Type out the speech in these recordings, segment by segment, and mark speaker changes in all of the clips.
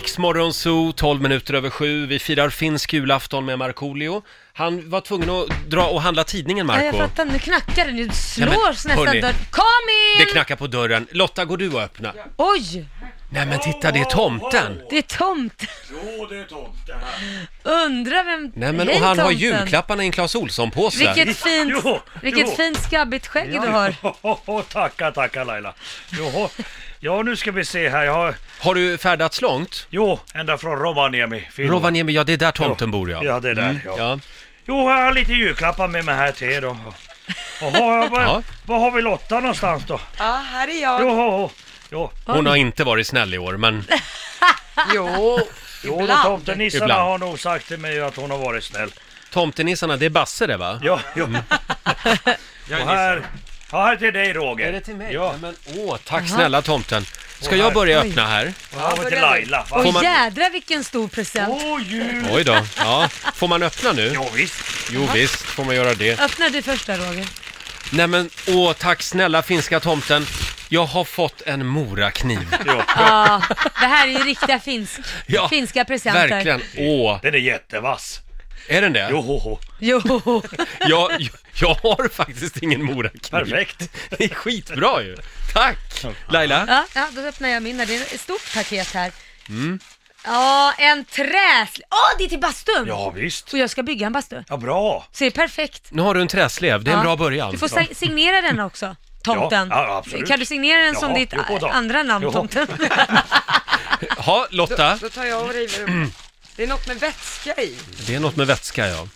Speaker 1: Riksmorgon Zoo, 12 minuter över sju. Vi firar finsk julafton med Markoolio. Han var tvungen att dra och handla tidningen,
Speaker 2: Ja, jag
Speaker 1: Marco.
Speaker 2: fattar, nu knackar det, nu slår
Speaker 1: Ja, men, hörni.
Speaker 2: nästan dörren. Kom
Speaker 1: Det
Speaker 2: in!
Speaker 1: knackar på dörren. Lotta, går du och öppna?
Speaker 2: Oj,
Speaker 1: Nej men titta, det är tomten!
Speaker 2: det är tomten.
Speaker 3: Jo, det är tomten här.
Speaker 2: Undrar vem...
Speaker 1: Nej men,
Speaker 2: Hej,
Speaker 1: och han har
Speaker 2: tomten.
Speaker 1: julklapparna i en Clas Ohlson-påse.
Speaker 2: Vilket fint,
Speaker 3: Jo,
Speaker 2: vilket
Speaker 3: jo.
Speaker 2: fint skabbigt skägg du har.
Speaker 3: Joho, tacka, tacka Laila. Joho. Ja, nu ska vi se här. Jag har,
Speaker 1: Har du färdats långt?
Speaker 3: jo, ända från Rovaniemi. Finland.
Speaker 1: Rovaniemi, ja det är där tomten bor ja. Mm.
Speaker 3: Ja, det är där. Ja.
Speaker 1: Ja.
Speaker 3: Jo, jag har lite julklappar med mig här till er då. Jaha, vad,
Speaker 1: Ja.
Speaker 3: vad har vi Lotta någonstans då?
Speaker 4: Ja, här är jag.
Speaker 3: Joho, jo,
Speaker 1: Hon har inte varit snäll i år, men
Speaker 4: Jo.
Speaker 3: jo
Speaker 4: Ibland.
Speaker 3: tomtenissarna
Speaker 1: Ibland.
Speaker 3: har nog sagt till mig att hon har varit snäll.
Speaker 1: tomtenissarna, det är Basse det va?
Speaker 3: Ja, jo.
Speaker 1: Mm.
Speaker 3: Och här, ja, här till dig Roger.
Speaker 1: Är det till mig?
Speaker 3: Ja,
Speaker 1: Men, åh, tack snälla tomten. Ska
Speaker 3: Åh,
Speaker 1: jag
Speaker 3: här.
Speaker 1: börja öppna här?
Speaker 3: och här var till
Speaker 4: börjar vi.
Speaker 3: Laila. Va?
Speaker 2: Och
Speaker 1: Får man-
Speaker 2: jädra vilken stor present.
Speaker 3: Åh, jul!
Speaker 1: Oj då. Ja. Får man öppna nu?
Speaker 3: Jo, visst.
Speaker 1: Jo visst, får man göra det.
Speaker 2: Öppna du första Roger.
Speaker 1: Nej men, åh tack snälla finska tomten. Jag har fått en morakniv.
Speaker 3: Jo.
Speaker 2: Ja, det här är ju riktiga finsk,
Speaker 1: Ja,
Speaker 2: finska presenter.
Speaker 1: Verkligen. Åh,
Speaker 3: Den är jättevass.
Speaker 1: är den det?
Speaker 3: Johoho.
Speaker 2: Jo,
Speaker 1: Jag, jag har faktiskt ingen morakniv.
Speaker 3: Perfekt.
Speaker 1: Det är skitbra ju. Tack! Laila?
Speaker 2: ja, ja, då öppnar jag min här. Det är ett stort paket här.
Speaker 1: Mm.
Speaker 2: Ja, en träslev. Åh, det är till bastun!
Speaker 3: Ja, visst.
Speaker 2: Och jag ska bygga en bastu.
Speaker 3: Ja, bra.
Speaker 2: Så det är perfekt.
Speaker 1: Nu har du en träslev, det är en
Speaker 2: Ja.
Speaker 1: bra början.
Speaker 2: Du får sig- signera den också, tomten.
Speaker 3: Ja, ja, absolut.
Speaker 2: Kan du signera den som
Speaker 3: Ja,
Speaker 2: ditt
Speaker 3: jo då.
Speaker 2: a- andra namn,
Speaker 3: Jo.
Speaker 2: tomten?
Speaker 1: Ja, Lotta,
Speaker 4: Då tar jag och river upp. Det är något med vätska i.
Speaker 1: det är något med vätska ja.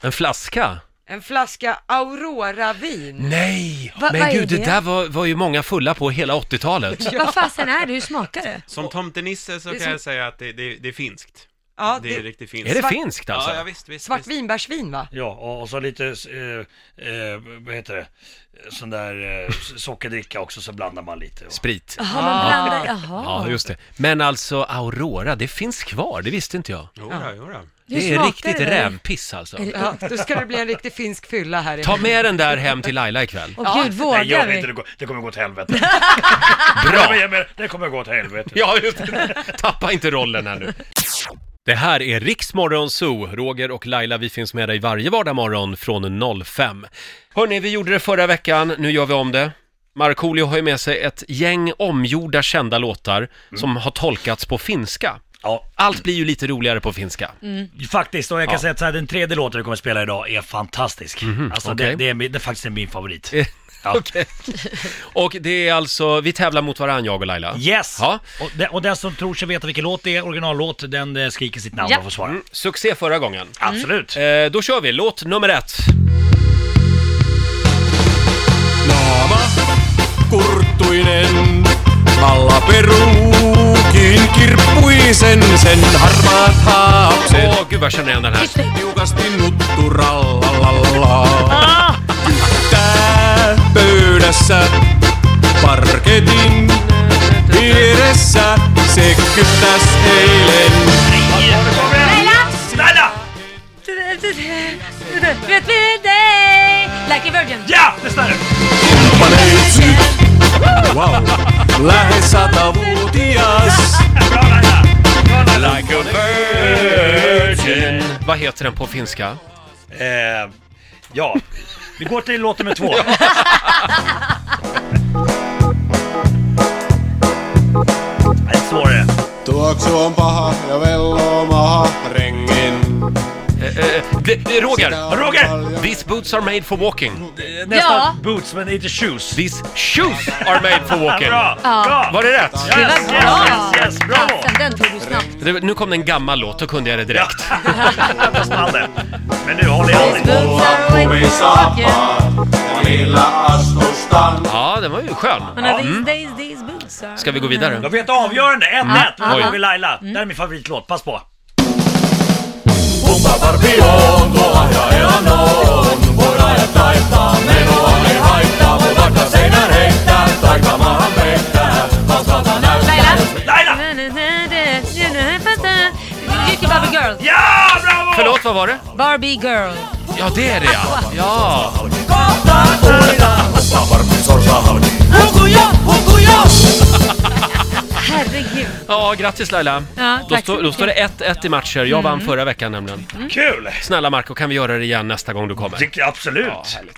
Speaker 1: En flaska?
Speaker 4: En flaska Aurora-vin.
Speaker 1: Nej!
Speaker 2: Va-
Speaker 1: Men
Speaker 2: vad är
Speaker 1: gud, det
Speaker 2: det?
Speaker 1: där var, var ju många fulla på hela 80-talet.
Speaker 2: Vad fasen är det? Hur smakar det?
Speaker 5: Som tomtenisse så
Speaker 4: Det är
Speaker 5: kan
Speaker 4: som-
Speaker 5: jag säga att det, det, det är finskt.
Speaker 4: Ja,
Speaker 5: det är
Speaker 4: det,
Speaker 5: riktigt finskt.
Speaker 1: Är det
Speaker 4: Svart-
Speaker 1: finskt alltså?
Speaker 5: Ja, ja, visst, visst. visst.
Speaker 4: svartvinbärsvin va?
Speaker 3: Ja, och och så lite, eh, eh, vad heter det, sån där eh, s- sockerdricka också, så blandar man lite. Och...
Speaker 1: Sprit.
Speaker 2: Jaha, man blandar... Jaha.
Speaker 1: Ja, just det. Men alltså Aurora, det finns kvar, det visste inte jag.
Speaker 5: Jodå, jodå.
Speaker 2: Hur
Speaker 1: Det är
Speaker 2: smakar
Speaker 1: riktigt
Speaker 2: det där?
Speaker 1: rävpiss alltså.
Speaker 4: Ja, då ska det bli en riktig finsk fylla här i
Speaker 1: Ta med den där hem till Laila ikväll.
Speaker 2: Åh
Speaker 4: Ja.
Speaker 2: gud,
Speaker 3: Nej,
Speaker 2: vågar
Speaker 3: gör
Speaker 2: vi?
Speaker 3: inte det. går- Det kommer gå åt helvete.
Speaker 2: Ah.
Speaker 3: Nej, men
Speaker 1: Bra!
Speaker 3: jag menar, det kommer gå åt helvete.
Speaker 1: Ja, just det. Tappa inte rollen här nu. Det här är Riksmorgon Zoo. Roger och Laila, vi finns med dig varje vardagsmorgon från 05. Hörni, vi gjorde det förra veckan, nu gör vi om det. Markoolio har ju med sig ett gäng omgjorda kända låtar som har tolkats på finska.
Speaker 3: Ja,
Speaker 1: Allt blir ju lite roligare på finska.
Speaker 2: Mm.
Speaker 3: faktiskt. Och jag kan
Speaker 1: Ja.
Speaker 3: säga att så här, den tredje låten vi kommer spela idag är fantastisk. alltså,
Speaker 1: okej.
Speaker 3: det, det, är, min- det är faktiskt min favorit. Ja.
Speaker 1: Okej. Och det är alltså, vi tävlar mot varandra jag och Laila.
Speaker 3: Yes!
Speaker 1: Ja.
Speaker 3: Och, den, och den som tror sig veta vilken låt det är, originallåt, den eh, skriker sitt namn
Speaker 2: Ja.
Speaker 3: och får svara.
Speaker 1: Mm, Succé förra gången.
Speaker 3: Absolut.
Speaker 1: Eh, då kör vi, låt nummer ett.
Speaker 6: Naama, kurttuinen, valla peruukin kirppuisen sen harmaat haapset.
Speaker 1: Åh, gud vad jag känner igen den här.
Speaker 6: Tiukasti nuttu rallalallalaa. Tää pöydässä, parketin vieressä, se kyttäs eilen.
Speaker 2: Laila!
Speaker 3: Laila!
Speaker 2: Vet vi dig? Like a virgin.
Speaker 3: Ja! Det stämmer!
Speaker 6: Kumppaneitsyt, wow, lähes satavuotias.
Speaker 3: Bra Laila! Bra Laila!
Speaker 1: Like a virgin. Vad heter den på finska?
Speaker 3: Eh, ja, vi går till låt nummer två. Nej, svårare.
Speaker 6: Tuoksu on paha ja velloo maha rengin.
Speaker 1: Eh, eh, det- det är Roger!
Speaker 3: Roger!
Speaker 1: These boots are made for walking.
Speaker 3: Nästa
Speaker 2: Ja.
Speaker 3: Boots men inte Shoes.
Speaker 1: These shoes are made for walking.
Speaker 3: Bra!
Speaker 2: Ja.
Speaker 3: Bra!
Speaker 1: Var det rätt?
Speaker 3: Yes,
Speaker 2: Det var bra!
Speaker 3: Yes, yes, yes, bra!
Speaker 2: Fasen, den tog du snabbt.
Speaker 1: Det- Nu kom det en gammal låt, då kunde jag det direkt.
Speaker 3: Fast man det. Men nu håller jag dig.
Speaker 6: Kumisaapaa, ja niillä astustan.
Speaker 1: Ja, den var ju skön.
Speaker 2: Men are these days, these boots are...
Speaker 1: Ska vi gå vidare?
Speaker 3: Jag vet avgörande,
Speaker 2: Mm.
Speaker 3: 1-1. Nu
Speaker 1: Oj.
Speaker 3: kommer vi Laila. Det här är min favoritlåt, pass på.
Speaker 6: Kummaparpi on, tuolla ja elanoon. Voidaan ja taittaa, menoa ei haittaa. Voi vaikka seinän heittää, tai kamahan peittää. Vastata näyttää.
Speaker 2: Laila!
Speaker 3: Laila!
Speaker 2: Jycke Barbie Girl.
Speaker 3: Ja, bravo!
Speaker 1: Förlåt, vad var det?
Speaker 2: Barbie Girl.
Speaker 1: Ja, det är det ja. Ja,
Speaker 6: Kummaparpi sorsaa halki. Hukuja, hukuja!
Speaker 2: herregud.
Speaker 1: Ja, grattis Laila.
Speaker 2: Ja,
Speaker 1: Då,
Speaker 2: tack
Speaker 1: stå,
Speaker 2: så
Speaker 1: då
Speaker 2: mycket.
Speaker 1: står
Speaker 2: Mm.
Speaker 1: det 1-1 i matcher. Jag vann förra veckan nämligen.
Speaker 3: Kul!
Speaker 1: Snälla Marco, kan vi göra det igen nästa gång du kommer?
Speaker 3: Tycker jag absolut.
Speaker 1: Ja, härligt.